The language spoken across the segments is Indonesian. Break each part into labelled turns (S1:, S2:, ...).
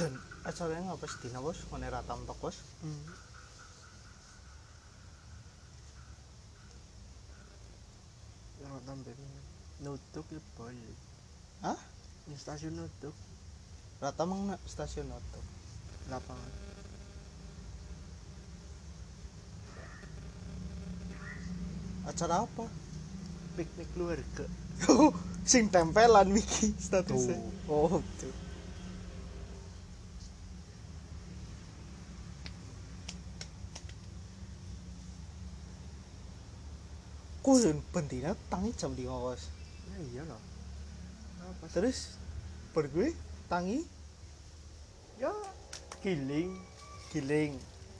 S1: Jan, acarane ngapa sedina bos? Ngene ra tamtok bos.
S2: Mm. Yang tambah ini. nutup ya boy.
S1: Hah?
S2: Ini stasiun nutup
S1: Rata meng na- stasiun oto.
S2: lapangan.
S1: Acara apa?
S2: Piknik keluarga.
S1: Sing tempelan Miki statusnya. Oh, tuh. Kuyon bentina tangi jam 5 bos.
S2: Ya iya loh. Apa sih?
S1: Terus bar gue tangi
S2: Ya giling.
S1: giling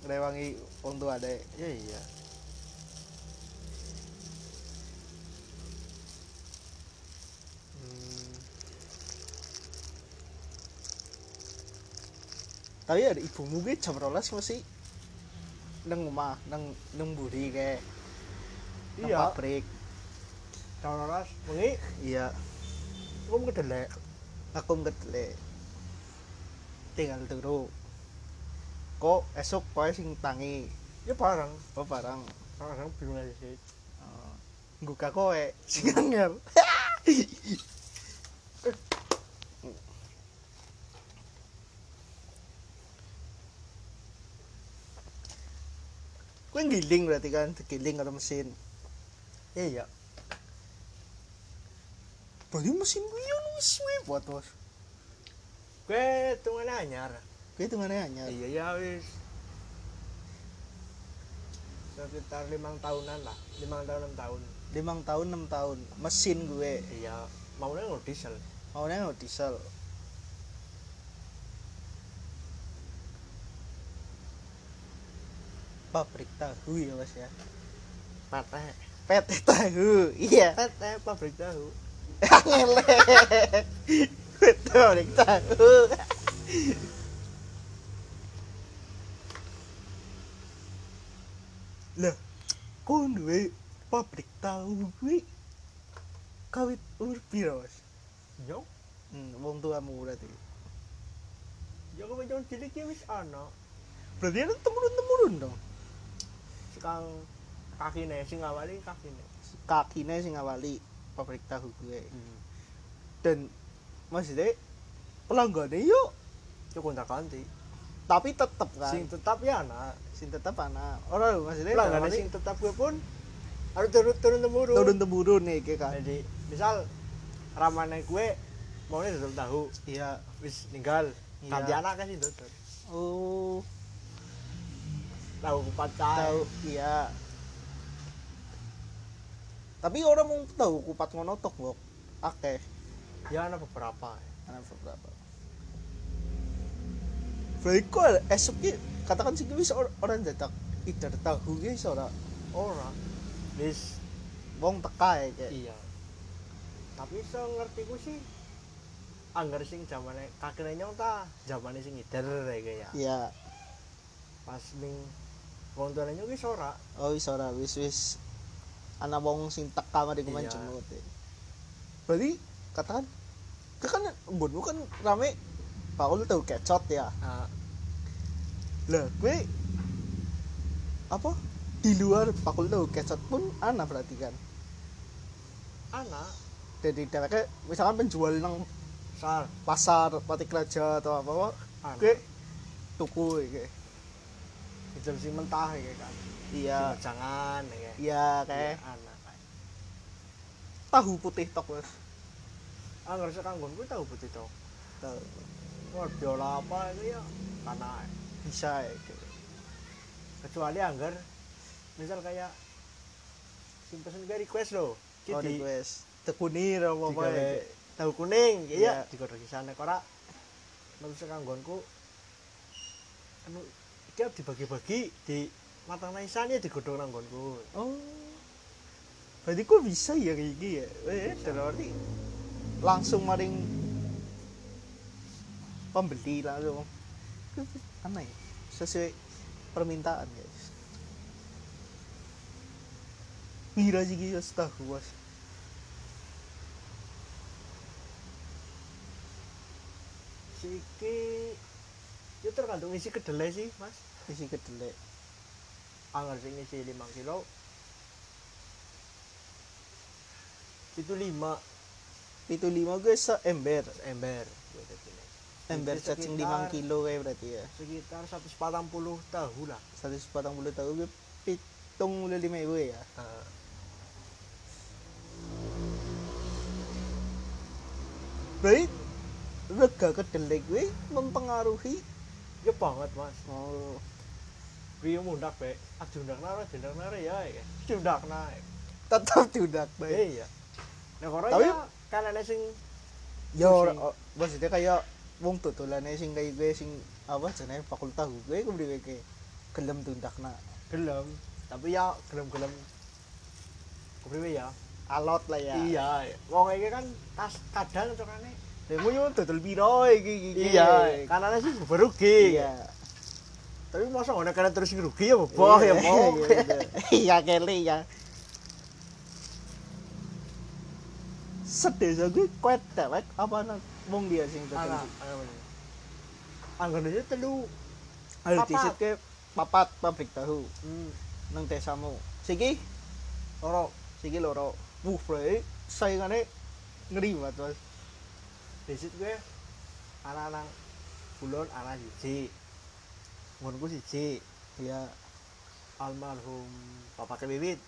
S1: ngrewangi wong tua adek.
S2: Ya iya. Hmm,
S1: tapi ada ibumu gue jam rolas masih neng rumah neng neng buri kayak neng
S2: Iya.
S1: pabrik
S2: tahun laras bengi
S1: iya
S2: kamu kedelek.
S1: aku ngetele tinggal turu kok esok kau sing tangi
S2: Ya barang.
S1: apa barang
S2: Kadang bingung aja sih.
S1: ngguka kowe sing angel kowe giling berarti kan digiling karo mesin
S2: Iya.
S1: berarti mesin kuwi yo wis suwe buat bos
S2: Gue tunggu anyar.
S1: kuwi hitungane anyar
S2: Iya ya wis. Sekitar limang tahunan lah, limang tahun enam tahun.
S1: limang tahun enam tahun mesin gue
S2: Iya, maunya nggak diesel.
S1: maunya no diesel pabrik tahu ya mas ya
S2: PT,
S1: PT tahu iya
S2: PT pabrik eh, tahu.
S1: ngelek betul tahu lah kok duwe pabrik tahu kuwi kawit umur piro Mas?
S2: Yo,
S1: hmm, wong tuamu berarti
S2: yo kau jangan cilik ya wis ano.
S1: berarti ada temurun temurun dong
S2: Sekarang kaki nih, sing awalnya kaki nih.
S1: kakinya sing ngawali pabrik tahu gue
S2: Hmm.
S1: dan maksudnya pelanggannya yuk
S2: Yo kontak ganti.
S1: tapi tetep kan
S2: Sing
S1: sing,
S2: tetap ya anak.
S1: tetep anak orang lho maksudnya
S2: Pelanggan sing tetap gue pun harus turun turun temurun.
S1: turun temurun nih kayak kan
S2: Jadi misal ramane gue maunya dodol tahu,
S1: iya
S2: wis ninggal.
S1: Iya.
S2: Ganti anak kan sih dodol.
S1: oh
S2: Tahu kupat cai.
S1: tahu iya tapi orang mau tahu kupat ngono tok bok akeh
S2: Ya ada beberapa.
S1: anak berapa berarti kok esoknya katakan sih wis or- orang datang ide tahu guys orang
S2: Orang wis
S1: wong teka ya kayak
S2: iya. Tapi so ngerti ku sih anggar sing zamane kakene nyong ta, zamane sing ider ya kayak ya.
S1: iya
S2: Pas ning wong tuane nyong wis ora.
S1: oh wis ora wis wis ana wong sing teka mari kuman
S2: Iya.
S1: jenguk ya. berarti katakan itu kan nggonmu kan rame Paul tau kecot ya
S2: Ah,
S1: lah gue apa di luar Pakul tau kecot pun ana berarti kan
S2: anak
S1: jadi dheweke misalkan penjual nang
S2: sal
S1: pasar pati kerja atau apa apa
S2: anak.
S1: gue tuku ya, kayak.
S2: Ider sing mentah ya kayak kan.
S1: iya
S2: Sing jangan ya kayak.
S1: iya
S2: Iya,
S1: kayak
S2: anak.
S1: tahu putih tok mas
S2: Anggar sing kanggo ku tau putih to.
S1: Tahu.
S2: Guardiola apa itu ya anak.
S1: bisa eh, ya kayak.
S2: Kecuali anggar misal kayak sing pesen gue request loh.
S1: Oh,
S2: Jadi-
S1: request. Tekuni apa apa
S2: Digawe
S1: ya.
S2: tahu kuning ya
S1: Iya.
S2: yeah. digodhog sana ora menurut kanggonku anu dia dibagi-bagi di matang naisan ya digodhog nang nggonku
S1: Oh. Berarti kok bisa ya kayak gini ya? Eh, dalam arti langsung maring pembeli langsung. Aneh. Sesuai eh, permintaan, guys. Pira sih kita tahu, Bos?
S2: siki itu tergantung isi kedelai sih mas
S1: isi kedelai
S2: anggar sing isi 5 kilo itu 5
S1: itu lima gue seember
S2: ember gitu, gini.
S1: ember
S2: Jadi
S1: cat sing limang
S2: sekitar-
S1: kilo eh, kayak berarti ya
S2: sekitar 140 tahu lah
S1: satu sepatang bulu tahu gue pitung puluh lima ribu ya
S2: Eh,
S1: berarti rega kedelai gue mempengaruhi
S2: ya banget mas
S1: oh
S2: Biar mundak be ajundak nara jundak nara ya ya jundak naik Eh,
S1: tetap tidak baik
S2: iya nah orang
S1: Tapi-
S2: ya kan ada sing
S1: ya
S2: Pusing.
S1: ora- o- maksudnya kayak wong tutulannya sing kayak gue sing apa jenenge fakultas gue gue beri kayak gelem tundak nak
S2: gelem tapi ya gelem gelem kepriwe ya
S1: alot lah ya
S2: iya iya. wong iki kan tas kadang cokane
S1: demo yo tutul piro iki iki
S2: kanane sih berugi
S1: iya
S2: tapi masa ngono kena terus rugi ya boboh ya mau
S1: Iya, iya kele ya sedesa gue kuat dewek apa nang wong dia sing
S2: ana
S1: tutul
S2: anggone aja telu
S1: ayo
S2: Papat.
S1: disit ke papat pabrik tahu
S2: hmm
S1: nang desamu siki
S2: loro
S1: siki loro wuh bre saingane ngeri banget mas
S2: desit gue ana nang bulon ana siji ngonku siji
S1: iya
S2: almarhum papa kewiwit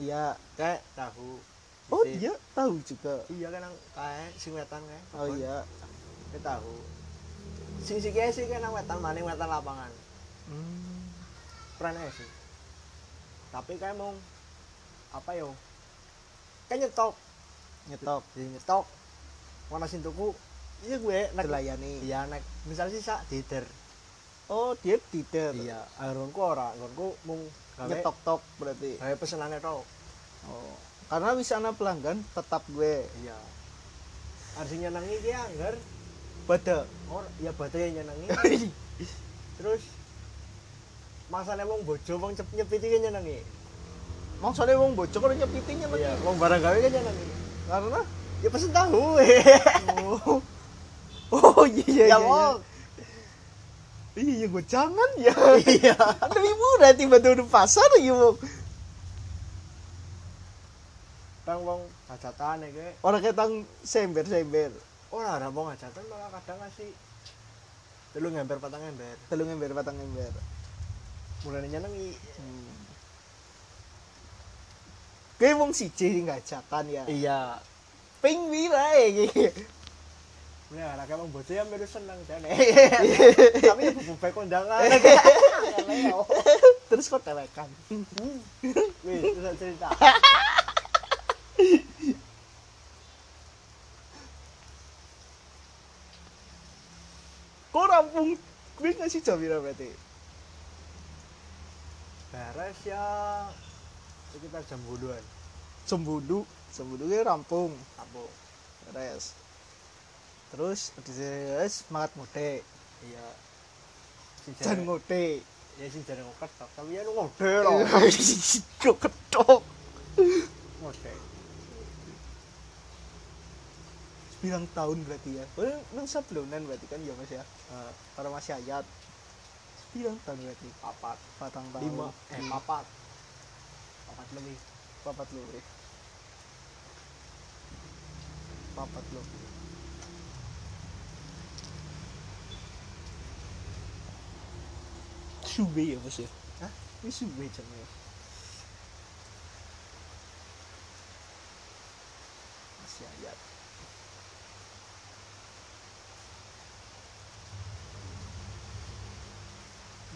S1: iya
S2: kayak tahu
S1: oh
S2: siji.
S1: iya tahu juga
S2: iya kan nang kae sing wetan kae
S1: oh iya
S2: Kowe tahu sing sing kae sih kan nang wetan maning wetan lapangan
S1: hmm.
S2: keren aja sih tapi kayak mau apa yo kan nyetok
S1: nyetok
S2: jadi nyetok warna sintuku iya gue nek
S1: dilayani
S2: iya nek misal sisa dider
S1: oh dia tidak
S2: iya anggonku ora anggonku mung gawe-
S1: nyetok tok berarti
S2: gawe pesenane tok
S1: oh karena wisana pelanggan tetap gue
S2: iya harusnya nyenengi ki anggar
S1: pada
S2: or ya baterai nyenengi terus masane wong bojo wong cep nyepiti ki nyenengi
S1: maksudnya wong bocor kalau nyepitinya
S2: iya wong barang gawe ki nyenengi
S1: karena
S2: ya pesen tahu
S1: oh oh iya iya
S2: ya
S1: iya,
S2: wong
S1: iya iya gue jangan ya
S2: iya
S1: lebih murah tiba-tiba di pasar ya wong
S2: bang wong hajatan ya kayak
S1: orang ketang sember sember
S2: ora ora wong hajatan malah kadang ngasih telu ngember patang ember
S1: telung ember patang ember
S2: mulai nyenengi
S1: hmm. gue wong siji sing gajatan ya
S2: iya
S1: ping wirae iki
S2: mulai anak emang bocah ya melu seneng jane tapi ibu baik kondangan
S1: terus kok telekan
S2: wih itu cerita
S1: kok rampung gue ngasih jam pira berarti
S2: beres ya sekitar jam buluan
S1: sembudu sembudu gue rampung
S2: apa
S1: beres terus di serius semangat ngode
S2: iya si
S1: dan
S2: jane
S1: ngode
S2: ya si jane ngoket tapi ya lu ngode loh
S1: kok ketok
S2: ngode
S1: bilang tahun berarti ya Padahal lu sebelanan berarti kan ya mas ya
S2: Eh,
S1: kalau masih hayat bilang tahun berarti
S2: papat
S1: patang tahun
S2: lima eh
S1: Lima.
S2: papat papat lebih
S1: papat luwih papat luwih suwe ya bos ya
S2: Hah?
S1: wis suwe jaman ya masih ayat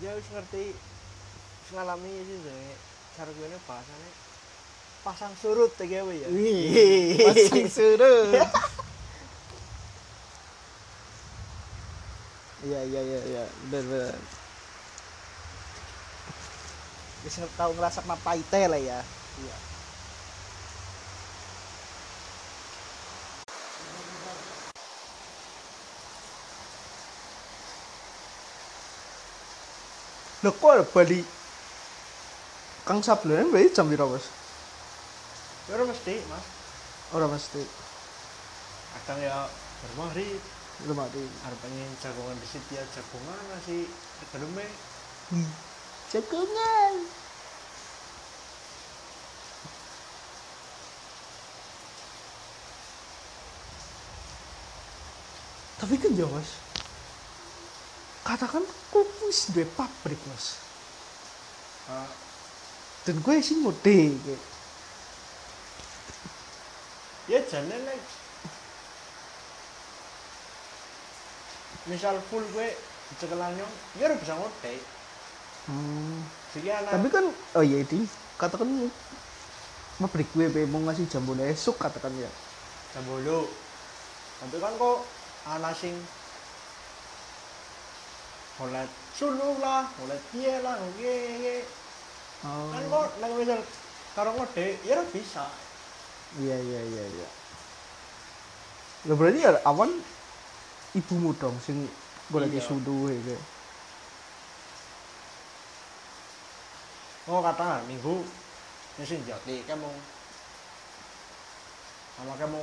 S2: dia harus ngerti harus ngalami sih sebenarnya cara gue ini bahasannya pasang surut TGW ya
S1: wih masih surut iya iya iya iya bener bener wis ngerti tau ngerasa paite lah ya
S2: iya
S1: Lho kok ada Bali? Kang Sablanan bayi jam pira, Mas?
S2: ya udah mesti mas
S1: Ora mesti.
S2: kadang ya bermahri
S1: lu mati
S2: Harus pengen jagongan di situ ya jagongan masih sebelumnya
S1: hmm. cekungan tapi kan ya mas katakan kukus dua pabrik mas
S2: uh,
S1: dan gue sih ngode kayak
S2: ya jangan like misal full gue cekelannya ya udah bisa ngote
S1: hmm.
S2: jadi anak
S1: tapi kan oh iya itu katakan pabrik gue pe, mau ngasih jambon esok katakan ya
S2: jambolo tapi kan kok anak sing mulai sulu lah mulai dia lah oke oke kan kok nang misal karo ngode ya udah bisa
S1: Iya iya iya iya. Lo berarti ya awan ibumu dong sing golek
S2: Iya.
S1: isu duwe kayak.
S2: oh kata minggu ini sing jati kamu sama kamu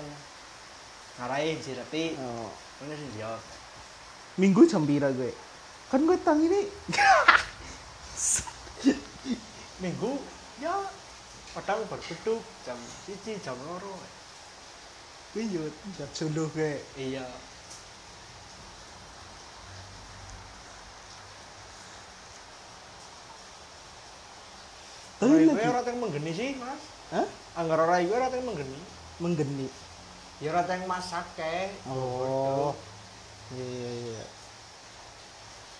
S2: ngarahin sih tapi
S1: Oh.
S2: ini sing jati
S1: Minggu jam pira gue? Kan gue tang ini
S2: minggu ya kadang bergeduk jam siji jam loro
S1: gue yo jam suluh gue.
S2: iya
S1: Tapi
S2: tapi gue
S1: lagi
S2: ora teng menggeni sih mas
S1: Hah?
S2: anggar ora gue ora teng menggeni
S1: menggeni.
S2: ya ora teng masak ke
S1: Oh. Iya iya iya.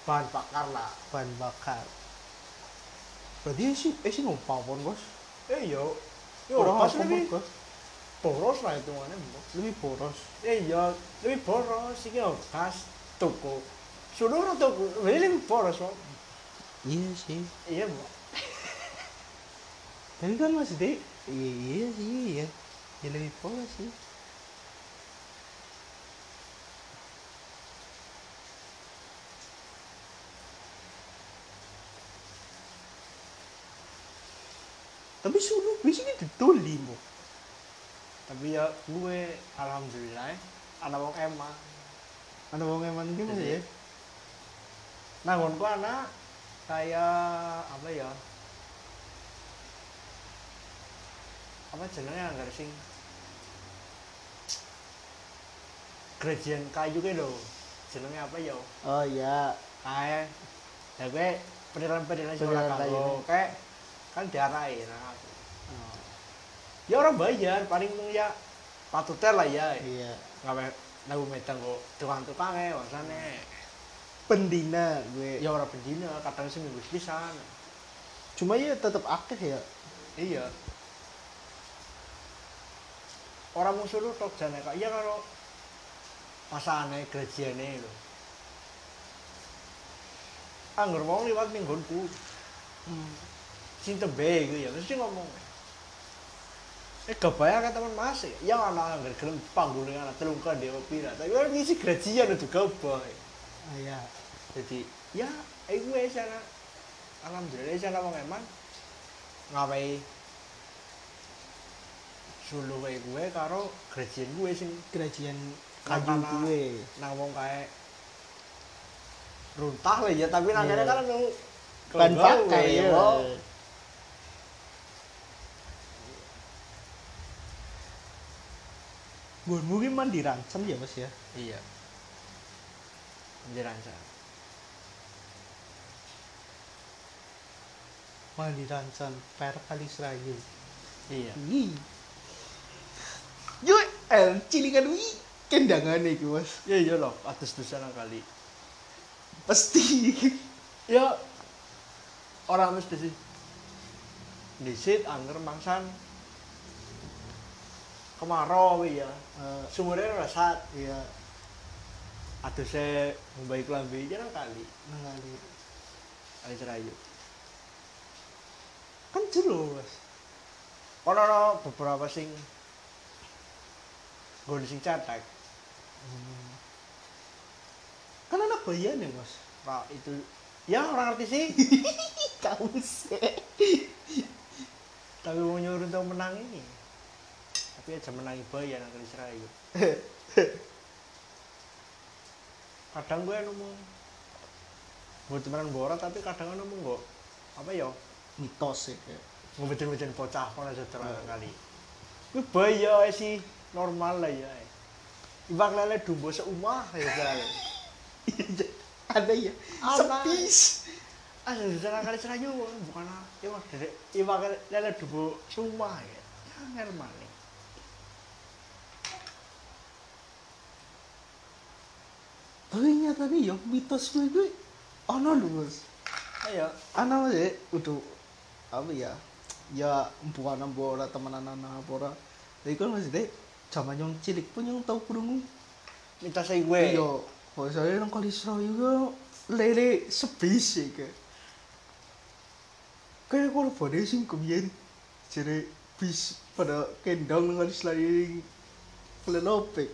S2: bahan bakar lah
S1: Bahan bakar. Berarti sih eh sih mau pawon, Bos.
S2: eh yo yo
S1: Kurang
S2: pas
S1: apa,
S2: lebih
S1: Bos?
S2: boros lah hitungannya mbok
S1: Lebih boros.
S2: eh yo lebih boros iki yo pas tuku seluruh tuku lebih lebih boros Mbok.
S1: Iya sih.
S2: iya mbok
S1: Tapi kan masih deh. Iya iya sih iya. Ya lebih boros sih. Tapi sulu bisa ini didoli mo.
S2: tapi ya gue alhamdulillah anak wong emang
S1: Ada wong eman gitu
S2: Jadi, nah gonku anak kayak apa ya apa jenenge anggar sing gradient kayu ke lho jenenge apa ya
S1: Oh iya.
S2: kayak ya gue penilaian-penilaian sekolah
S1: Penilaian kayu.
S2: kayu kayak kan diarahin nah, aku.
S1: Oh,
S2: ya orang bayar paling ya patuter lah ya
S1: iya.
S2: ngapain lagu metang kok tukang-tukangnya wasannya
S1: Pendina gue.
S2: ya orang pendina kadang seminggu sepisan
S1: Cuma ya tetap akeh ya.
S2: iya orang musuh lu tok jane kak iya kalau pasane gerejane lho anggur wong liwat ning nggonku sing tembe iku ya mesti ngomong eh kebayang kan teman mas ya yang anak anggur gelem panggulnya anak telungkan dia pira tapi kan ngisi gerajian itu kebayang
S1: Iya.
S2: jadi ya aku wis ana alhamdulillah wis ana wong eman ngawahi sulu wae gue karo gerajian gue sing
S1: Kerajian
S2: kayu gue. nang wong kae runtah lah ya tapi nang kene
S1: Iya.
S2: kan nang
S1: Bahan bakar ya. Mo. Gue mungkin mandi rancam ya mas ya.
S2: iya anjir anjir
S1: Mandi rancam per kali serayu.
S2: iya
S1: Ih. Yo, el cilingan wi kendangan iki mas.
S2: ya iya loh atus dusana kali
S1: Pasti.
S2: ya orang mesti sih disit angger mangsan kemarau ya
S1: Eh,
S2: sumbernya rasat
S1: Iya,
S2: aduh saya membaik lambi jarang kali
S1: nangani.
S2: kali serayu
S1: Kan jero mas.
S2: ono ono beberapa sing gon sing cetek
S1: Kan anak bayan ya mas.
S2: pak itu ya orang ngerti sih
S1: Kau sih.
S2: tapi mau nyuruh tau menang ini tapi aja menangi bayan nang kali serayu kadang gue nemu buat temenan borat tapi kadang nemu kok apa ya
S1: mitos ya kayak.
S2: ngebetin-betin bocah kan aja terang kali gue bayar sih normal lah ya ibang lele dumbo seumah ya jalan
S1: ada ya
S2: Apa?
S1: sepis
S2: ah jalan kali serayu bukan ah ya mah dari ibang lele dumbo seumah ya Ya, normal nih
S1: tapi nyatanya ya mitos gue gue ono lho mas
S2: ayo
S1: ana mas ya udah apa ya ya bukan ambo ora temenan ana apa ora tapi kan mas deh zaman yang cilik pun yang tau kurungu
S2: minta saya gue
S1: iya kalau saya nang kali serayu gue lele sepis ya kayak kayak korbannya sih kemudian jadi bis pada kendang dengan selain kelelopek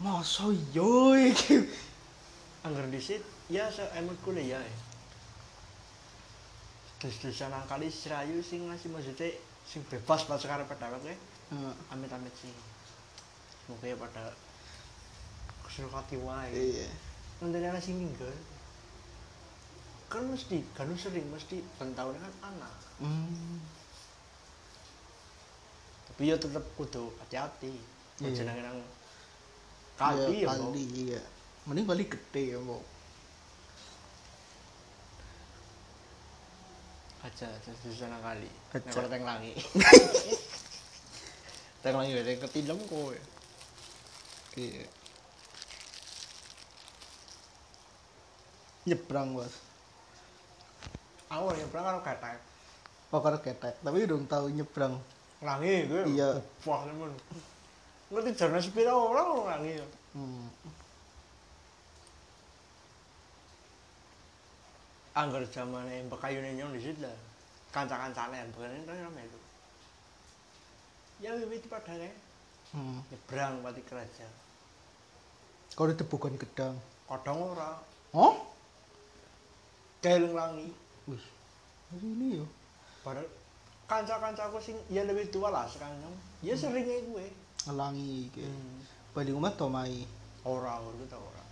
S1: masa iya ya
S2: anggar disit ya saya emang kuliah ya terus terusan kali serayu sing ngasih maksudnya sing bebas pas sekarang pada oke
S1: Heeh.
S2: amit amit sih semoga ya pada kesulukati wae
S1: iya
S2: nanti anak sing minggu kan mesti kan lu sering mesti pentahunnya kan anak
S1: hmm.
S2: tapi ya tetep kudu hati-hati
S1: Iya.
S2: jangan nang kali
S1: Iya,
S2: ya Mbok.
S1: kali iya mending kali gede ya mau
S2: aja terus terusan nang kali
S1: Aja.
S2: Nang teng langi teng langi udah ketindem kowe
S1: iya nyebrang bos
S2: aku yang pernah karo ketek
S1: pokoknya ketek tapi udah tahu nyebrang
S2: langi gue
S1: Iya.
S2: wah temen ngerti jarna sepira orang orang langi ya
S1: hmm.
S2: anggar zaman yang bekayu nyong di situ lah kanca-kancane yang bekayu itu ramai itu ya wiwit pada kayak
S1: Hmm.
S2: nyebrang pati kerja
S1: kalau itu bukan gedang
S2: kodong ora
S1: oh
S2: kaileng langi
S1: wih hari ini yo
S2: padahal kanca-kancaku sing ya lebih tua lah sekarang nyong ya seringnya gue
S1: ngelangi ke
S2: Hmm.
S1: balik rumah tomai
S2: ora ngono ta ora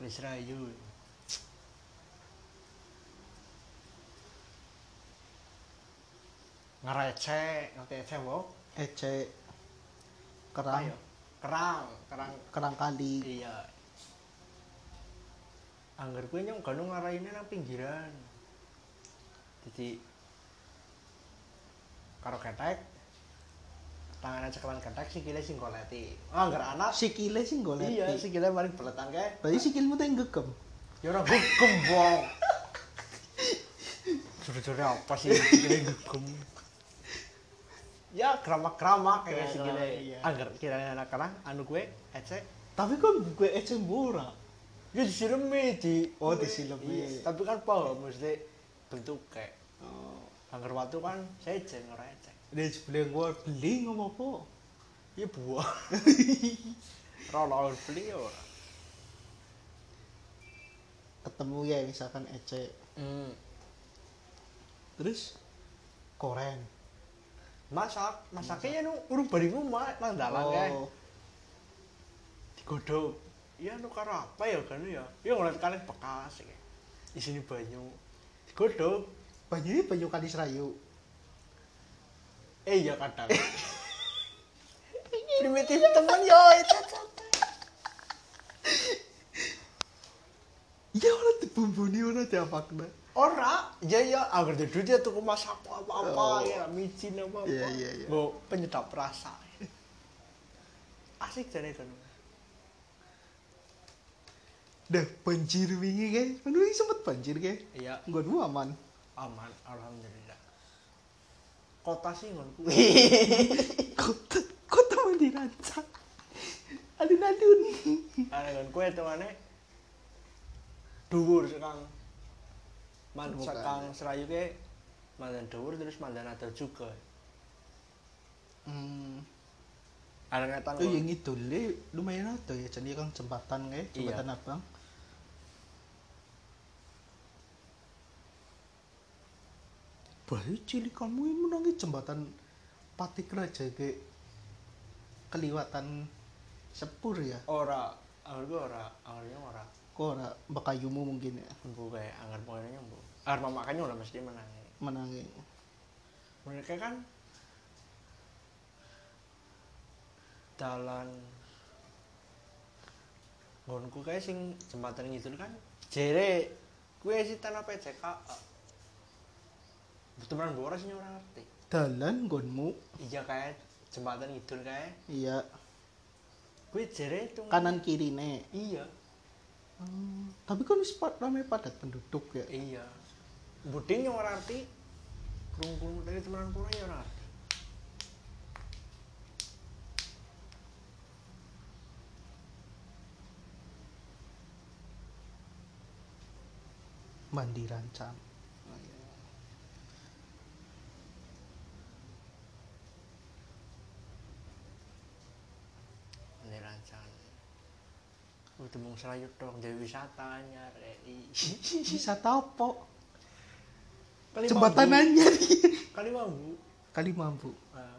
S2: wis rayu ngerecek ngerecek wo
S1: ecek kerang
S2: ayo kerang kerang
S1: kerang kali
S2: iya anggar gue nyong gak ngarahinnya nang pinggiran jadi karo ketek tangannya cekalan ketek sikile sing goleti anggar anak
S1: sikile sih golek
S2: iya sikile paling beletan kae
S1: berarti sikilmu tuh yang gegem
S2: ya ora gugem wong jujur apa sih sikile gugem ya keramak-keramak kayak sikile
S1: Iya.
S2: anggar kiranya anak kerang anu gue ecek
S1: tapi kan gue ecek murah
S2: Ya disilemi di
S1: Oh, disilemi.
S2: Tapi kan paham mesti bentuk kayak
S1: oh.
S2: anggar watu kan sejen ora ecek.
S1: dia sebelum gue beli ngomong apa
S2: Ya buah. Rolo beli ya ora.
S1: ketemu ya misalkan ecek
S2: Hmm.
S1: terus koreng
S2: Masak, masaknya ya nu urung bari rumah nang dalan kae.
S1: Oh,
S2: Digodhog. Ya nu karo apa ya kan ya. Ya ngeliat kalian bekas ya. Isine banyu. Digodhog.
S1: banyu ini banyu kali serayu
S2: Eh ya kadang. Primitif temen yo itu.
S1: iya orang dibumbuni orang diapakna
S2: Ora, ya ya, agar di duit ya tuku masak
S1: Oh.
S2: apa-apa, ya micin apa-apa.
S1: Iya, iya, iya.
S2: Bo, penyedap rasa. Asik jane kan.
S1: dah banjir wingi kan kan wingi sempet banjir kan
S2: Iya,
S1: gue dua aman
S2: aman alhamdulillah. Kota sih ngonku.
S1: kota kota mandi rancang adun adun
S2: Ana ngonku itu mana? Dhuwur sekang. Man
S1: Bukan.
S2: sekang serayu ke mandan dhuwur terus mandan ada juga.
S1: hmm.
S2: Ada ngetan.
S1: itu yang itu le lumayan ada ya jadi kan jembatan kayak jembatan abang bayi cilik kamu ini menangi jembatan pati raja ke keliwatan sepur ya
S2: ora anggar gue ora anggar yang ora
S1: kok ora bekayumu mungkin ya
S2: bu kayak anggar pokoknya bu anggar mamakanya udah mesti menang
S1: menangi
S2: mereka kan dalan gonku kayak sing jembatan gitu kan jere gue sih tanah PCK teman boros sih orang ngerti
S1: dalan gonmu
S2: iya kayak jembatan gitu kayak
S1: iya
S2: gue jere itu
S1: kanan kiri nih
S2: iya
S1: tapi kan wis pa- ramai padat penduduk ya
S2: iya buding yang orang ngerti kurung kurung dari teman kurung yang orang ngerti
S1: mandi rancang
S2: Ini rancangan. Udah mung serayut dong, jadi wisata anyar RI.
S1: wisata apa
S2: Kali
S1: jembatan
S2: Mambu.
S1: anyar
S2: Kali mambu.
S1: kali mampu
S2: Ah,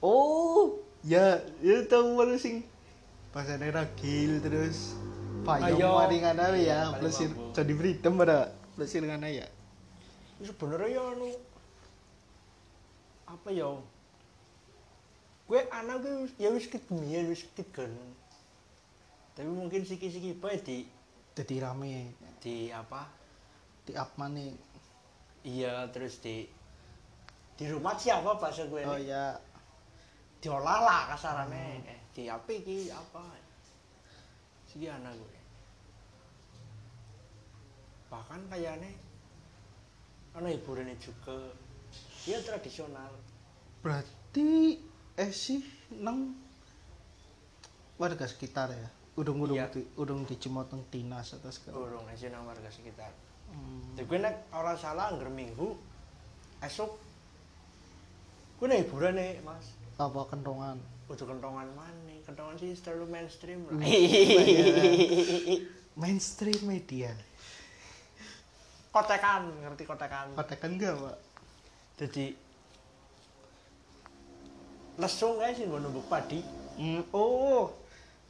S1: oh ya ya tahu baru sing bahasane ragil terus
S2: Payung.
S1: payung maringan ae
S2: Iya,
S1: ya
S2: paling
S1: plesir
S2: mampu.
S1: jadi freedom pada plesir ngana ya
S2: Itu sebenarnya ya anu apa ya? Gue anak gue wis- ya wis kedemian, wis ketigen. Tapi mungkin siki-siki bae di
S1: jadi rame
S2: di apa?
S1: di up maning
S2: Iya, terus di di rumah siapa bahasa gue?
S1: oh ya
S2: diolah lah kasarannya eh di apa iki apa sih anak gue bahkan kayaknya ana hiburannya juga dia tradisional
S1: berarti eh sih nang warga sekitar ya udung-udung
S2: Iya.
S1: di, udung di Cimoteng Tinas atau segala
S2: burung aja nang warga sekitar
S1: Hmm.
S2: jadi gue nek orang salah anggar minggu esok gue nih hiburan nih mas
S1: apa kentongan
S2: untuk kentongan mana kentongan sih terlalu mainstream lah
S1: mainstream media
S2: kotekan ngerti kotekan
S1: katakan enggak pak
S2: jadi lesung guys sih numbuk padi
S1: Hmm,
S2: oh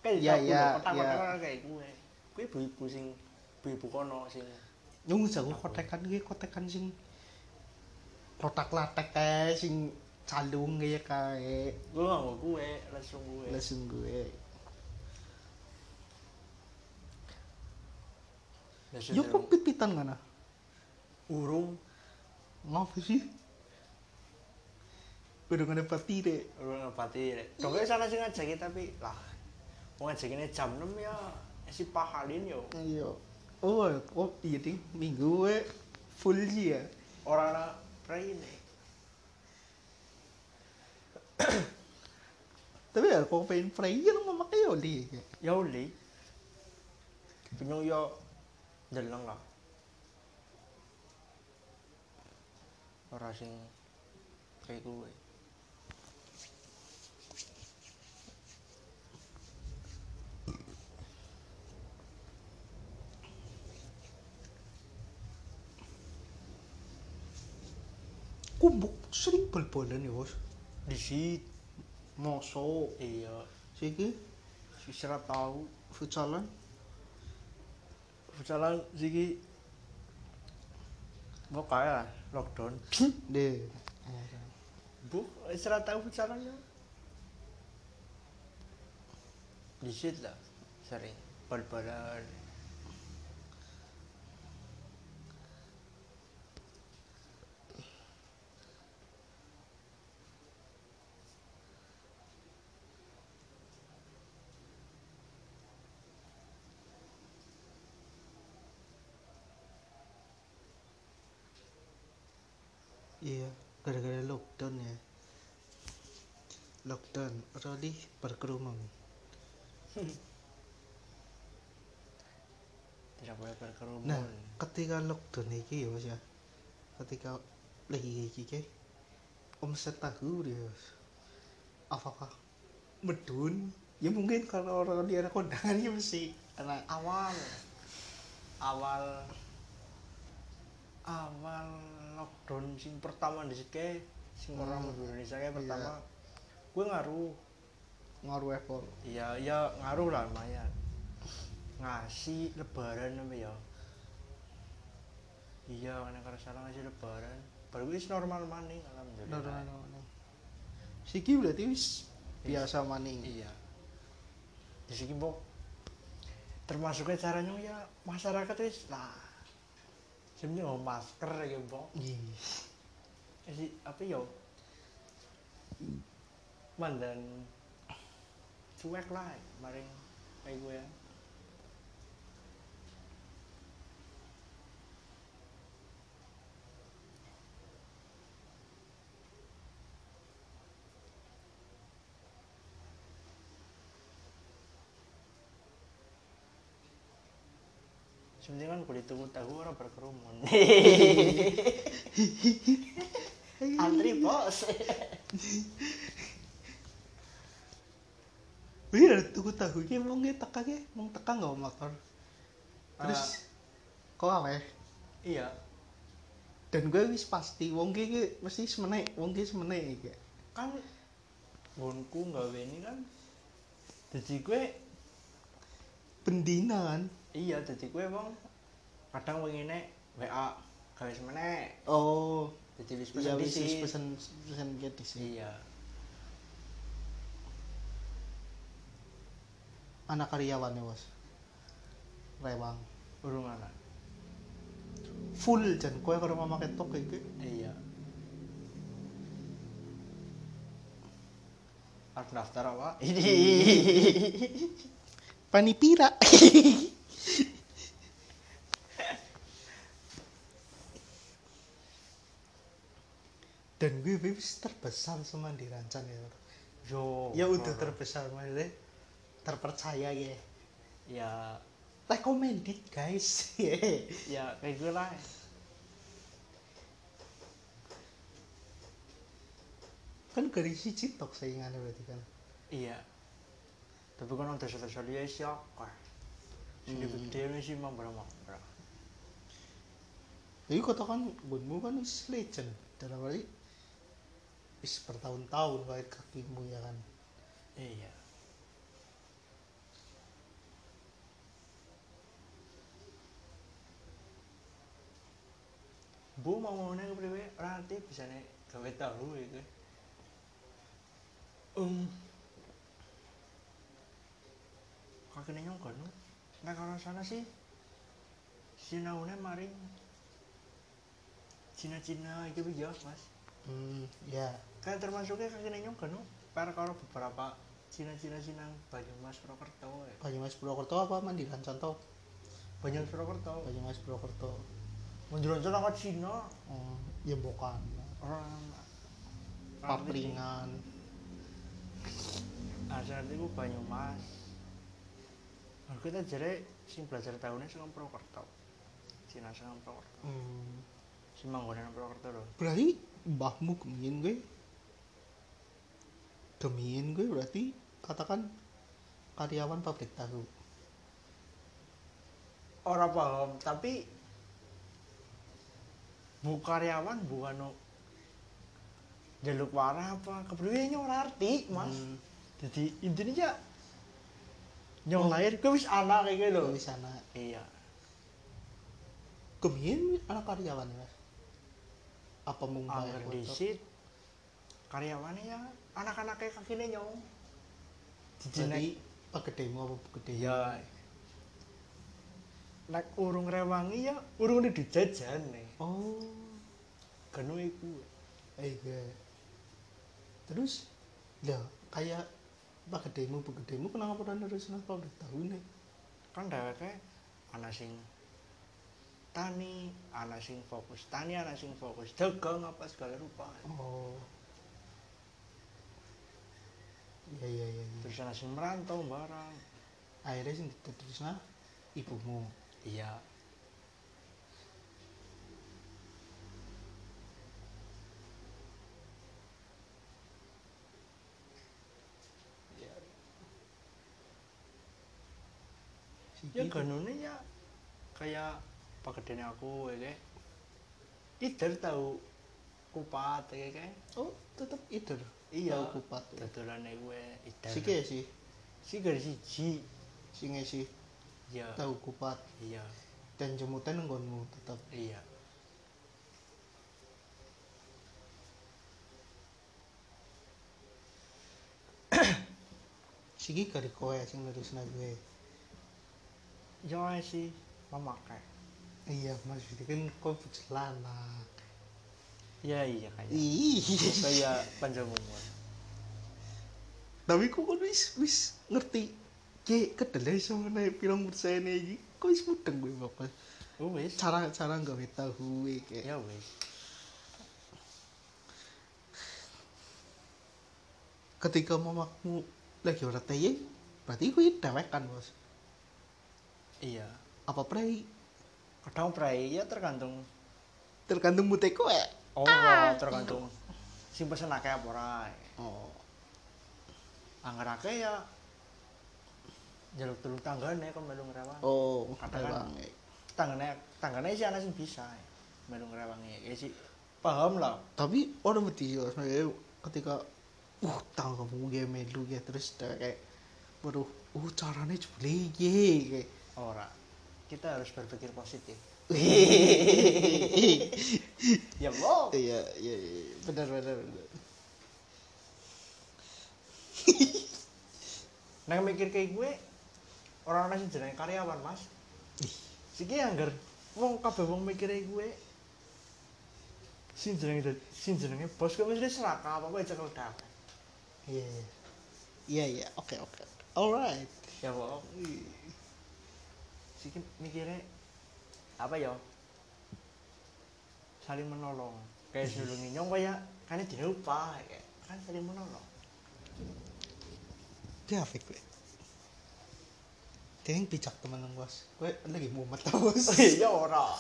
S2: kayak
S1: Iya, iya,
S2: kotak
S1: iya.
S2: kotak kayak gue gue ibu ibu sing ibu ibu kono sing
S1: Nung jago kotekan ge kotekan sing kotak latek kae sing calung ge kae
S2: gue nggak mau gue lesung gue
S1: lesung gue.
S2: lesung
S1: Yo kok pit-pitan kana?
S2: urung
S1: Ngapa sih? Udah ngene pati deh.
S2: urung ngepati rek dong gue sana sih ngajaki tapi lah mau ngajakinnya jam 6 ya si pahalin yo
S1: Ayo. Oh, oh iya ding minggu we full sih ya.
S2: orang orang pray ini
S1: Tapi ya kok pengen prayer mama kayak oli.
S2: ya uli bingung yo deleng lah ora sing kayak gue
S1: Kumbuk sering bol-bolan ya, Bos.
S2: di situ
S1: Moso.
S2: iya
S1: Siki
S2: sisra tahu
S1: futsalan
S2: misalnya siki mau kaya lah lockdown
S1: deh.
S2: bu sisra tahu misalnya di situ lah sering bal-balan
S1: Iya, gara-gara lockdown ya. Lockdown, Roli berkerumun.
S2: tidak boleh berkerumun
S1: Nah, ketika lockdown ini ya, Mas ya. Ketika lagi iki ke omset tahu dia. Mas. Apakah medun? Ya mungkin kalau orang di anak kondangan ya mesti anak
S2: awal awal awal lockdown sing pertama di sini sing orang
S1: Hmm.
S2: di Indonesia kayak
S1: Iya.
S2: pertama gue ngaruh
S1: ngaruh ekor
S2: iya iya ngaruh lah lumayan ngasih lebaran apa ya iya karena karena salah ngasih lebaran baru wis normal maning
S1: no,
S2: alhamdulillah
S1: no, no, no. Siki berarti wis biasa maning
S2: iya di sini mbok termasuknya caranya ya masyarakat wis lah sebenarnya oh, masker ya mbok
S1: Iya.
S2: Jadi Eh, apa yo? Mandan cuek lah, maring kayak gue. ya. Sebenarnya kan kulit tunggu tahu orang berkerumun. Antri bos.
S1: Iya, tuku tahu ki mong ki teka ki mong teka nggak motor. Terus kok aweh
S2: Iya,
S1: dan gue wis pasti wong ki ki mesti semenek, wong ki semenek iki.
S2: kan gonku nggawe ini kan jadi gue
S1: Bendinan.
S2: iya jadi gue bang kadang wengine WA gawe semene
S1: Oh,
S2: jadi wis
S1: iya
S2: pesen
S1: wis gitu wis
S2: disis.
S1: pesen pesen ki di sini.
S2: iya
S1: Anak karyawannya was. Rewang.
S2: urung anak
S1: Full jan kowe karo mama ketok gitu. iki.
S2: iya harus daftar apa ini
S1: Panipira. dan gue wis terbesar sama di rancan ya.
S2: yo
S1: ya udah
S2: ngono.
S1: terbesar maksudnya terpercaya ya
S2: ya
S1: recommended guys
S2: ya kayak gue lah
S1: kan garis siji tok saingannya berarti kan
S2: iya tapi kan untuk desa dia siapa sih
S1: Hmm.
S2: gede ini sih mambar mambar
S1: jadi kota kan gunmu kan is legend dalam arti is bertahun-tahun kait kakimu ya kan
S2: iya bu mau ngomongnya ke priwe nanti bisa nih gawe tahu itu um kakeknya nyongkon nah kalau sana sih sinaunya maring Cina-Cina itu ya mas
S1: hmm ya
S2: kan termasuknya kakeknya nyongkon per kalau beberapa Cina-Cina Cina Banyumas Purwokerto ya.
S1: Banyumas Purwokerto apa mandi rancan tau
S2: Banyumas Purwokerto
S1: Banyumas Purwokerto
S2: menjualan celana Cina
S1: oh, ya bukan
S2: orang
S1: papringan
S2: asal itu Banyumas Lalu kita jadi sing belajar tahunnya sama Purwokerto Cina sama Purwokerto
S1: hmm.
S2: si manggonan Purwokerto loh
S1: berarti mbahmu gemien gue gemien gue berarti katakan karyawan pabrik tahu
S2: orang paham tapi bu karyawan bukan no jaluk warah apa kepriwenya orang arti mas
S1: Hmm,
S2: jadi intinya ya
S1: Oh.
S2: yang lahir gue wis anak kayak gitu
S1: di sana
S2: iya
S1: gemien anak karyawan ya Mas? apa mumbai
S2: Angger disit karyawannya ya anak-anaknya kakinya nyong
S1: jadi pegedemu apa pegede
S2: ya nek urung rewangi ya urung ini dijajan nih
S1: oh
S2: genu iku
S1: iya terus ya kayak pegedemu pegedemu kenapa pernah terus nang pabrik tahu nih
S2: kan dheweke ana sing tani ana sing fokus tani ana sing fokus dagang apa segala rupa
S1: oh iya iya iya iya.
S2: terus ana sing merantau barang
S1: akhirnya sing diterusna ibumu
S2: iya
S1: Siki
S2: kan. ya genune ya kayak paketene aku ya Ider tahu kupat ya kan?
S1: oh tetap itu
S2: Iya.
S1: Tahu kupat ya.
S2: Dodolane gue Ider.
S1: sih ya sih
S2: Si garis siji.
S1: sih sih
S2: Iya.
S1: tahu kupat
S2: Iya.
S1: dan jemutan nggonmu tetap
S2: Iya.
S1: sih kari kowe sing nerusna gue
S2: Yo ae sih memakai.
S1: iya maksudnya kan kau pecelana
S2: Ya iya kayak.
S1: iya
S2: Kayak panjang umur.
S1: tapi kok kan wis wis ngerti ke kedelai sama naik pirang persen ini kok wis mudeng gue bakal
S2: Wis.
S1: cara cara gawe tahu iki
S2: Ya wis.
S1: ketika mamakmu lagi ora tayang berarti kuwi dewekan bos
S2: Iya.
S1: apa prei
S2: Kadang prai ya tergantung
S1: tergantung mute kowe
S2: ora, tergantung sing pesen akeh apa ora.
S1: oh
S2: Angger akeh ya jaluk telung tanggane kon melu ngrewangi.
S1: oh
S2: Kadang-
S1: rewang e.
S2: tanggane tanggane sih ana sing bisa melu ngrewangi ya sih paham lah
S1: tapi orang mesti yo sebenarnya ketika uh tang kamu gue melu ya terus dah kayak baru uh caranya jebule ye kayak
S2: ora kita harus berpikir positif
S1: iya
S2: ya lo
S1: iya iya benar benar benar
S2: nang mikir kayak gue orang ana sing jenenge karyawan mas siki angger wong kabeh wong mikir kayak gue sing jenenge dad- sing jenenge bos kok wis seraka apa wae cekel dak
S1: iya iya. iya iya oke oke alright
S2: ya lo siki mikirnya apa ya saling menolong kayak sedulur nyong kayak kan dina upah kayak kan saling menolong
S1: Grafik gue. Dia yang bijak teman yang bos. Gue lagi mumet tau bos.
S2: iya ora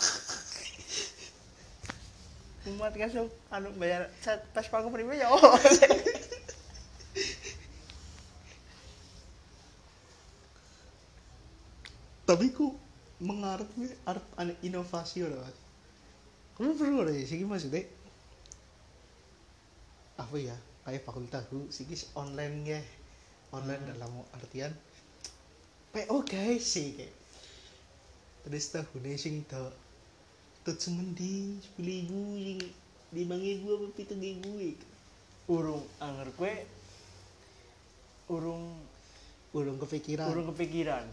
S2: umat kasih anu bayar set pas paku prima ya oh. ora.
S1: Tapi ku mengarep gue arep ane inovasi ora mas. Kamu perlu ora ya sih maksudnya? Apa ya? Kayak fakultas gue sih online ya. Online dalam artian PO guys sih kayak. Terus tahunnya sing tak Tut semendi, sepuluh ibu, lima ibu, apa pitung ibu
S2: urung anger kue urung
S1: Urung kepikiran
S2: urung kepikiran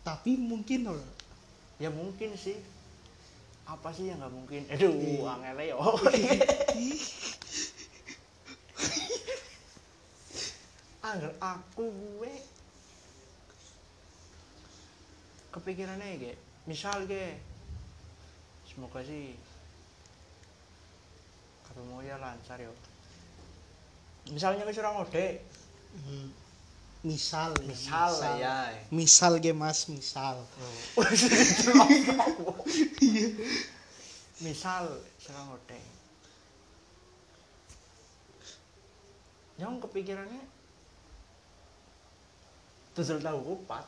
S1: tapi mungkin ora
S2: ya mungkin sih apa sih yang nggak mungkin aduh
S1: Iya.
S2: angel ya angger aku gue kepikirannya kayak misal ge semoga sih kalau mau ya lancar yo misalnya ke orang ngode
S1: Hmm. misal ya,
S2: misal ya
S1: misal ge mas misal
S2: misal serang odeng nyong kepikirannya tutul tahu kupat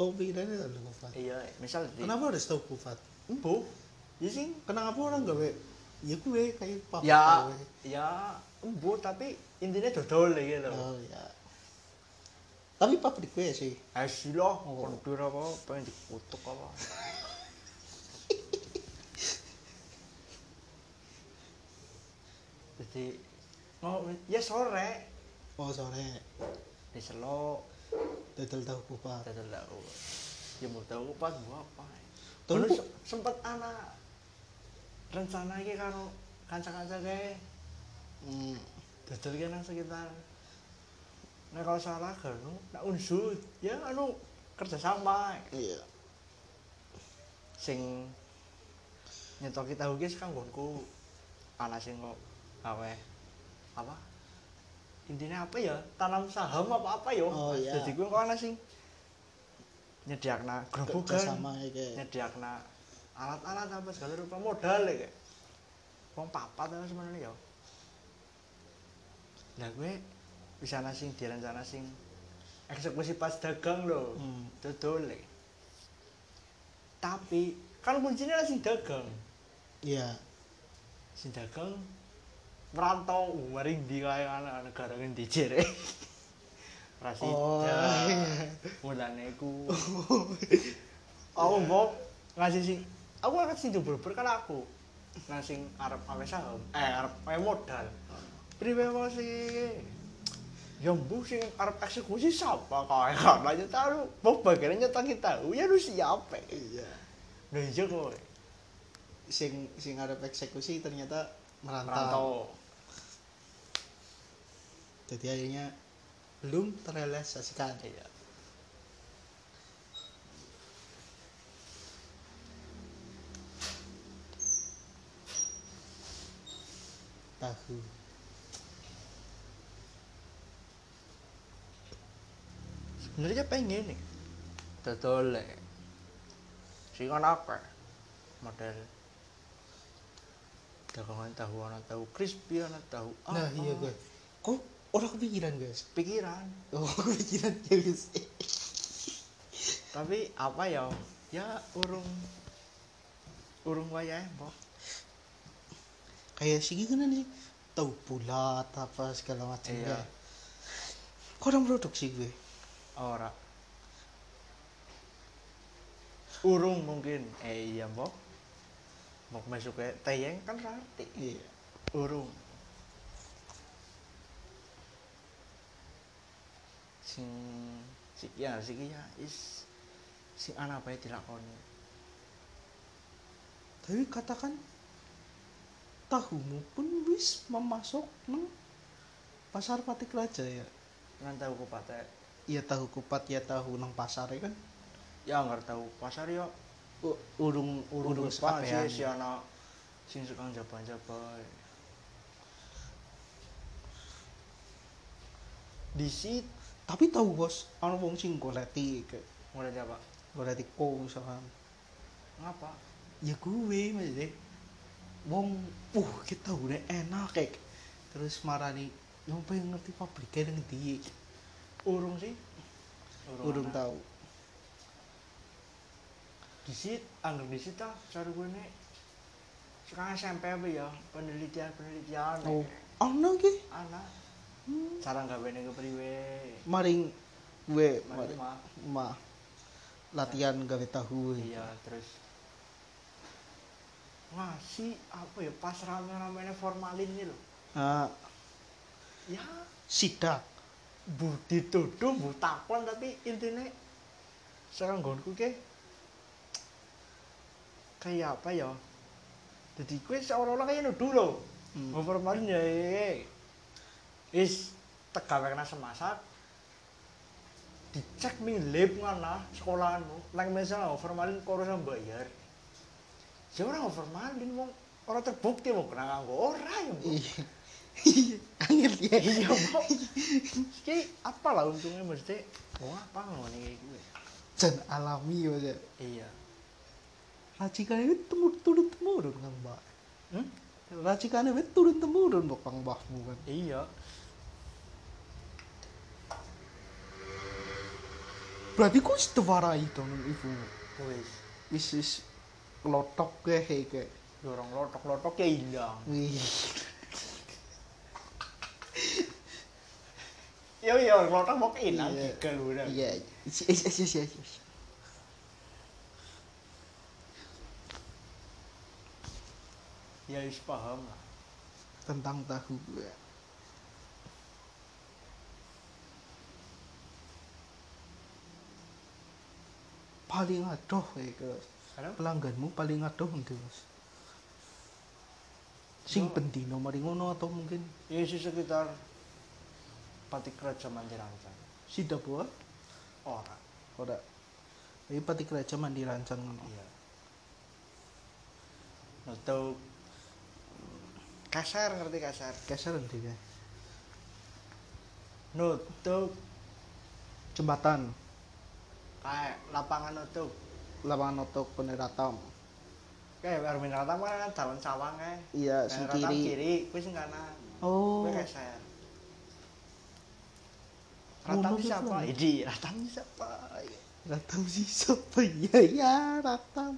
S1: kau pikirannya tentang kufat
S2: iya misal di
S1: kenapa harus tahu kufat
S2: embu ya sih
S1: kenapa orang gawe ya gue kayak
S2: Oh,
S1: papa
S2: ya
S1: gue.
S2: ya embu tapi intinya dodol gitu
S1: oh ya tapi pabrik gue sih
S2: hasil loh kondur apa pengen dikutuk apa jadi mau ya sore
S1: oh sore
S2: di selo
S1: dodol tahu kufat
S2: tidak tahu ya mau tahu pas mau apa
S1: Tahu
S2: terus
S1: kok.
S2: sempat anak rencana iki karo kanca-kanca deh
S1: hmm.
S2: dodol ki nang sekitar nek kalau salah ganu nak unsur ya anu kerjasama
S1: iya
S2: sing nyetoki tahu guys kan gonku ana sing kok aweh apa intinya apa ya tanam saham apa apa ya
S1: Oh, iya.
S2: jadi gue kok ana sing nyediakna gerobokan
S1: kerjasama ya kayak
S2: nyediakna alat-alat apa segala rupa modal ya kayak wong papat apa sebenarnya ya nah gue bisa sing direncana sing eksekusi pas dagang loh
S1: Hmm.
S2: dodol ya. tapi kan kuncinya langsung dagang
S1: iya
S2: sing uh, dagang merantau maring di kaya anak negara ngendi jere. Rasida.
S1: Oh, iya.
S2: Mulane iku. Aku mau ngasih sing aku kan sing jebul-jebul kan aku. Nah sing arep awe saham, eh arep awe modal. Priwe wae sih? Ya mbuh sing arep eksekusi siapa kae kan aja tahu. Mau bagian nyetak kita. Ya lu siapa?
S1: iya
S2: Nah iya kowe.
S1: sing sing arep eksekusi ternyata merantau,
S2: Merantau.
S1: jadi akhirnya belum terrealisasikan
S2: Iya.
S1: tahu
S2: sebenarnya pengen nih betul sih kan apa model dagangan tahu anak tahu crispy anak tahu apa
S1: nah iya gue kok orang kepikiran guys
S2: pikiran
S1: oh kepikiran guys
S2: tapi apa ya ya urung urung wayah mbok
S1: kayak sih kan sih tahu bulat apa segala macam
S2: Iya.
S1: ya kok orang produksi gue
S2: ora urung mungkin eh iya mbok mbok masuk ke tayang kan rati
S1: iya
S2: urung sing sik ya sik ya is sing anak bae dilakoni
S1: tapi katakan tahumu pun wis memasok nang pasar patik raja ya
S2: ngan tahu kupaten
S1: ya tahu kupat ya tahu nang pasar ya kan "Oh,
S2: ya nggak tahu pasar yo
S1: U- urung urung,
S2: urung
S1: wis
S2: apa
S1: apean.
S2: sih si anak sing suka jaban jaban di sit
S1: tapi tahu bos ana wong sing goleti ke
S2: mulai apa
S1: goleti ko misalkan
S2: ngapa
S1: ya gue maksudnya wong uh kita udah enak kayak terus marani yang pengen ngerti pabriknya yang di
S2: urung sih
S1: urung
S2: anak.
S1: tahu
S2: di sit angger di sit ah cari gue nih sekarang SMP apa ya penelitian penelitian
S1: oh ana ki
S2: anak cara nggak bener ke priwe
S1: maring gue maring
S2: mari mah
S1: mah latihan gawe tahu
S2: iya terus ngasih apa ya pas rame ramenya formalin nih loh
S1: ah
S2: ya
S1: sidak
S2: bu dituduh bu taklan tapi intinya sekarang gonku ke kayak apa ya jadi gue seolah-olah kayak nuduh loh
S1: Hmm.
S2: mau formalin ya eh. ya, ya. is tegal kena semasak dicek nih lab mana sekolahanmu nang misalnya formalin kau harus bayar ya orang formalin mau orang terbukti mau kena nganggo orang ya Bu.
S1: Iya. angel ya
S2: iya kok Ki, apa lah untungnya mesti mau apa ngono kayak gue
S1: dan alami ya
S2: iya
S1: racikan itu temur turun temurun kang mbak
S2: hmm?
S1: racikan itu turun temurun kok kang mbahmu kan
S2: iya
S1: berarti kok setewarai dong ibu
S2: wis
S1: wis wis kelotok ke hei ke
S2: dorong lotok lotok ya hilang
S1: wih
S2: iya iya lotok mau hilang
S1: Iya.
S2: tiga udah
S1: iya yes yes yes yes, yes.
S2: ya wis paham lah
S1: tentang tahu gue paling adoh ya guys
S2: karena
S1: pelangganmu paling adoh nanti mas sing
S2: Yo.
S1: pendino mari ngono atau mungkin
S2: ya sih sekitar patik raja mandiranca
S1: sida buah
S2: ora
S1: ora ini pati kerja mandi rancang ngono
S2: iya atau kasar ngerti kasar
S1: keser nanti ya
S2: nutup
S1: jembatan
S2: kayak lapangan nutup
S1: lapangan otok peneratam
S2: kayak baru mineral tamu kan dalam cawang kayak
S1: iya sing
S2: Mineral tamu
S1: kiri
S2: kiri gue sing kanan
S1: Eh, oh
S2: gue kayak saya
S1: Oh, lu
S2: Ratam siapa?
S1: kan.
S2: Idi, Ratam siapa?
S1: ratam sih siapa ya ya ratam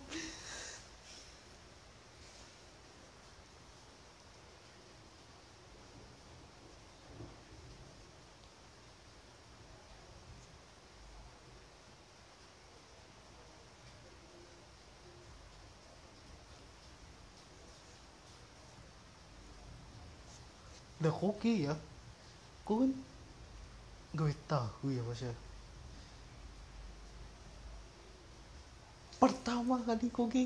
S1: the cookie ya kun gue tahu ya mas ya pertama kali kogi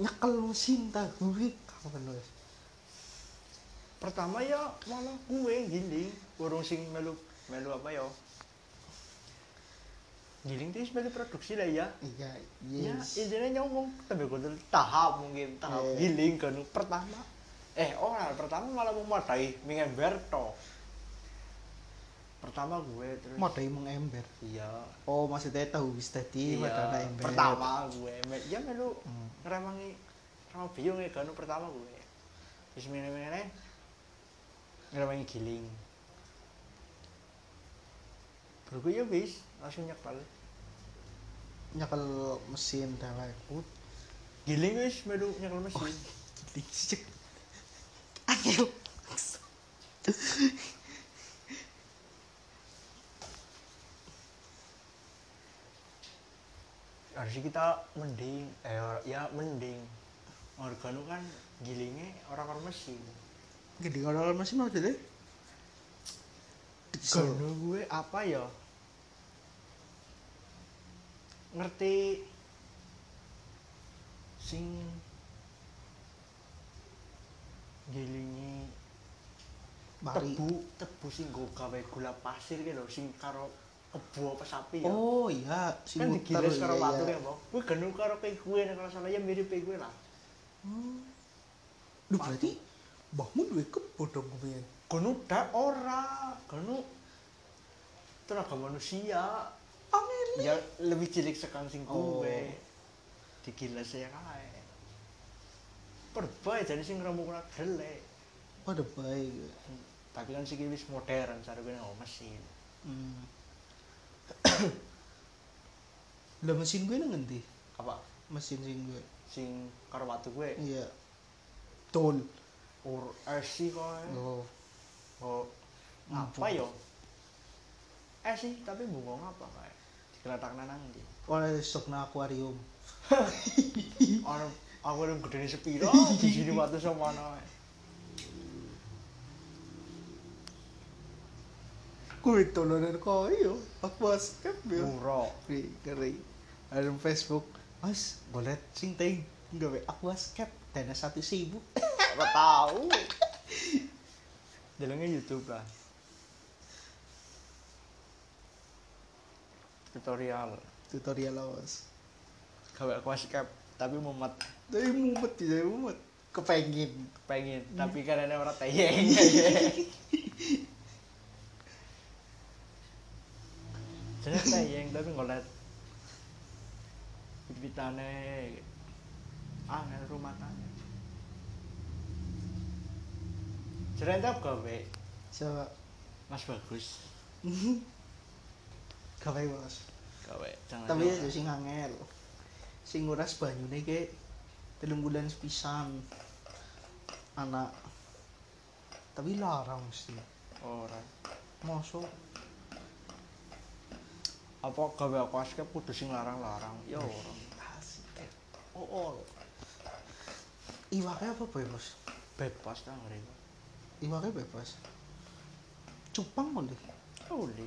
S1: nyakal mesin tahu gue kapan mas
S2: pertama ya malah gue giling urung sing melu melu apa ya giling itu melu produksi lah ya
S1: iya
S2: ya intinya nyomong tapi gue tuh tahap mungkin tahap
S1: Yes.
S2: giling kan pertama eh orang pertama malah memadai mengemberto pertama gue terus
S1: mau dari mengember
S2: iya
S1: oh maksudnya tahu bis tadi
S2: iya,
S1: ada ember
S2: pertama gue me- ya melu
S1: Hmm.
S2: ngeramangi sama biung ya kan pertama gue terus meneh-meneh ngeramangi giling baru gue ya wis langsung nyekal
S1: nyakal mesin dan lain
S2: giling wis melu nyekal mesin
S1: Licik. Ayo.
S2: harusnya kita mending eh or- ya mending organu kan gilingnya orang orang mesin
S1: Gede kalau masih mau deh.
S2: Gano gue apa ya ngerti sing gilingi
S1: Mari.
S2: tebu tebu sing gue gawe gula pasir gitu loh sing karo kebo apa sapi ya
S1: Oh iya, si
S2: kan
S1: muter,
S2: digiles
S1: iya,
S2: karo
S1: iya.
S2: watu ya bang gue gano karo kayak gue nek kalau salah ya mirip kayak gue lah
S1: Hmm. Duh berarti mbahmu duwe kebo dong gue.
S2: Gunu dak ora, gunu tenaga manusia.
S1: Angin.
S2: Ya lebih cilik sekang sing
S1: Oh.
S2: kuwe. Digiles ya kae. Perbae jadi sing rambut kena gelek.
S1: Pada baik.
S2: Tapi kan sing wis modern, saru kene oh mesin.
S1: Hmm. Lah mesin gue nang ngendi?
S2: Apa
S1: Mesin sing gue.
S2: sing karo watu kuwe
S1: Iya. Tol.
S2: ur RC koe.
S1: Oh.
S2: Oh. Apa
S1: Mbung.
S2: yo? Eh sih, tapi bungong apa kae? Digeletakna nang ndi?
S1: Oleh stokna akuarium.
S2: Ono aku yang gedene sepiro di sini watu sama ana.
S1: Kuwi tolonan kau yo. Pak bos kan yo.
S2: Murah.
S1: Keri, keri. Ada Ano Facebook. Mas, boleh sing ting gawe aquascape dana satu sibuk.
S2: Gak tahu. Jalannya YouTube lah. Tutorial.
S1: Tutorial oh, awas.
S2: Gawe aku masih cap, tapi mumet
S1: Tapi mumet ya, mumet. Kepengen.
S2: pengen, tapi karena orang tayeng. Jadi tayeng tapi ngeliat bibitane angel rumah tangga. Jadi entah gawe
S1: Coba.
S2: Mas bagus.
S1: Gawe bos.
S2: gawe jangan
S1: Tapi ya sing angel. Sing nguras banyune ke telung bulan sepisan. Anak. Tapi larang mesti.
S2: ora
S1: Mosok
S2: apa gawe aku askep kudu sing larang-larang ya ora
S1: asik.
S2: oh, oh.
S1: Iwaknya apa bebas?
S2: bebas kan mereka
S1: Iwaknya bebas. Cupang boleh.
S2: boleh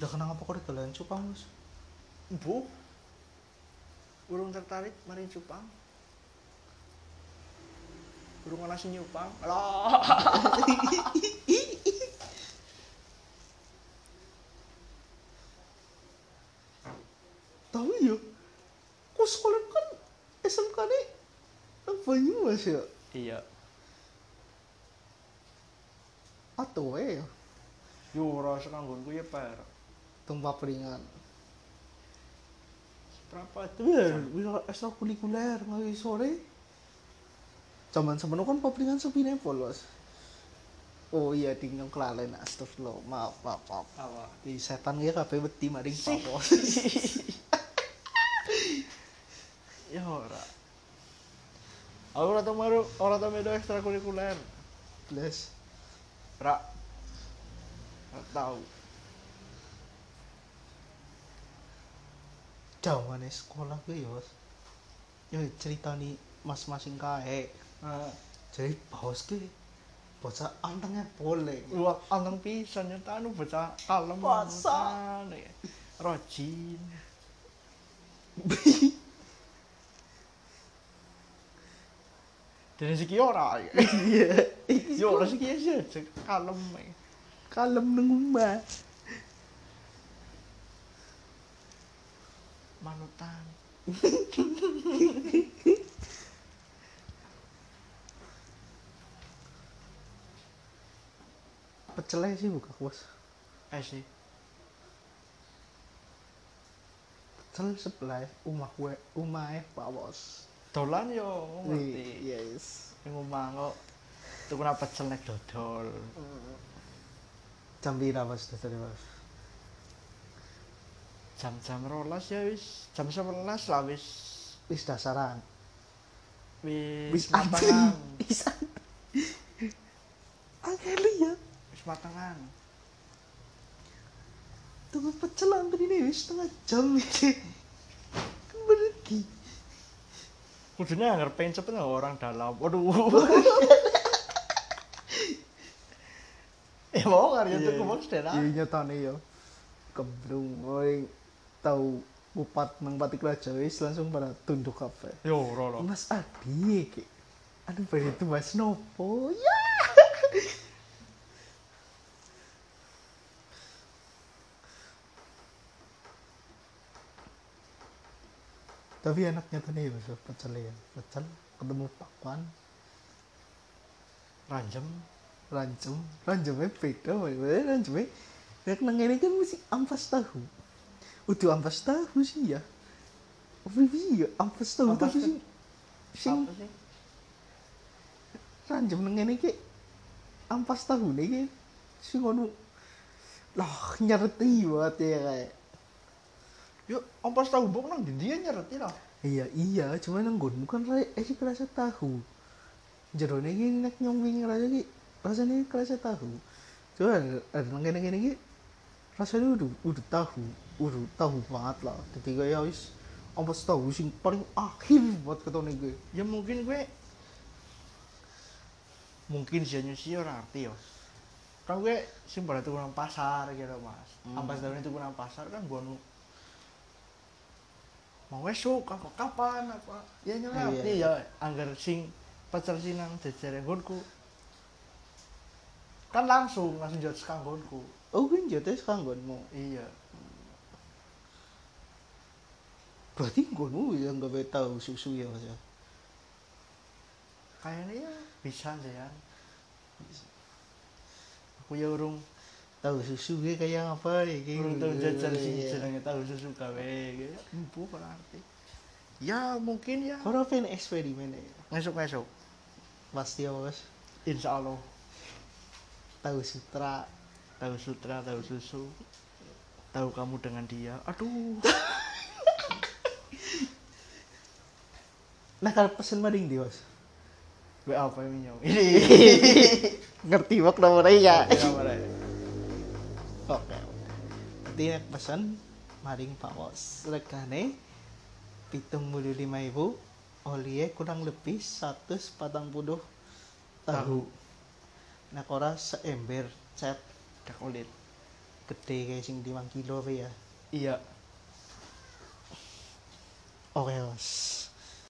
S1: Udah kenapa kok dolan cupang, Mas?
S2: bu urung tertarik mari cupang urung ana sing nyupang lah
S1: Tahu ya. Kok sekolah kan SMK ini nang Banyumas ya?
S2: iya
S1: Atau ya,
S2: yo ora sekanggonku ya per
S1: tempat peringan.
S2: berapa
S1: Biar,
S2: tuh
S1: biar ekstra ya, kulikuler nggak sore. Zaman sepenuh kan papringan sepi nih polos. Oh iya, dingin kelalen astagfirullah. Maaf, maaf, maaf.
S2: apa
S1: Di setan ya kabeh wedi maring papos.
S2: ya ora aku ora tau maru ora tau medo ekstrakurikuler
S1: Bless.
S2: Ra. Ra tahu.
S1: Jawabannya sekolah gue ya, Mas. Ya cerita nih masing-masing kae
S2: Nah.
S1: jadi bos ki bocah antengnya boleh
S2: Wah, anteng pisan nyata anu bocah kalem.
S1: Masa?
S2: anu ya. Rajin. Dari segi ora ya.
S1: iya
S2: Yo, dari segi aja cek, kalem. ya.
S1: kalem nang omah
S2: Manutan.
S1: pecelnya sih buka bos
S2: Eh sih.
S1: pecel sebelah umah gue umah pak bos
S2: Dolan yo ngerti.
S1: yes
S2: Ning omah kok tuku apa celek dodol.
S1: jam pira bos dari bos
S2: Jam-jam rolas ya wis, jam 11 lah wis.
S1: wis dasaran
S2: Wis
S1: wis antri
S2: matangan.
S1: wis antri angel ya
S2: Wis matangan.
S1: tunggu pecel antri ini wis setengah jam ini kan berhenti
S2: Kudunya anger pengen cepet nggak orang dalam. Waduh. ya mau ngarep
S1: Iya,
S2: yeah. tuku
S1: iya.
S2: box deh lah.
S1: iya nyatane ya kembrung orang tahu bupat nang pati kerja wis langsung pada tunduk kabeh
S2: Yo rolo.
S1: Mas Abi, ki. aduh pada itu Mas Nopo, ya. Tapi enaknya tadi ya, Mas, pecel ya, pecel ketemu pakwan,
S2: Ranjem.
S1: rancem, rancemnya beda, Mas. Eh, rancemnya, nek nang ini kan mesti ampas tahu, udah ampas tahu sih ya, apa sih ya, ampas tahu
S2: Ampas
S1: tapi
S2: ke-
S1: sih, sing
S2: Apa sih?
S1: ranjem nang ngene iki ampas tahune iki sing ngono lah nyerti banget ya kayak
S2: Yo ompas tahu bok nang dia nyereti lah.
S1: iya iya cuman nang nggonmu kan ra- eh sih kerasa tahu jerone iki nek nyomwing rasa iki rasanya kerasa tahu coba ada nang ngene ngene iki rasanya udah udah tahu udah tahu banget lah jadi kayak wis ampas tahu sing paling akhir buat ketone gue
S2: Ya mungkin gue mungkin sih sih orang arti yo. Kan gue sing pada tuku nang pasar gitu mas. Ampas daun itu nang pasar kan gue nu mau esok apa kapan apa ya nyelati
S1: Iya.
S2: ya anggar sing pacar sing nang jejer nggonku kan langsung langsung jod sekang nggonku
S1: oh gue jatuh sekarang gonmu
S2: iya
S1: berarti gonmu ya nggak boleh tahu susu ya mas ya
S2: kayaknya ya bisa sih ya aku ya urung
S1: tahu susu gue kayak apa ya kayak
S2: Urung tau Hmm, jajan sing
S1: Oh, Iya.
S2: jenenge tahu susu gawe gitu. Empu ora arti. Ya mungkin ya.
S1: Kau pengen eksperimen ya
S2: Ngesuk-ngesuk.
S1: pasti ya bos
S2: Insya Allah
S1: tahu sutra
S2: tahu sutra, tahu susu. Tahu kamu dengan dia. Aduh.
S1: nah kalau pesen maring di bos
S2: Gue apa ini nyong? Ini.
S1: ngerti bok nomornya ya
S2: Kamera.
S1: oke berarti nek pesen maring pak bos regane pitung puluh lima ribu oleh kurang lebih 140 tahu
S2: Tahu
S1: nah ora seember cat
S2: kakulit.
S1: gede kayak sing 5 kilo apa ya
S2: Iya.
S1: oke bos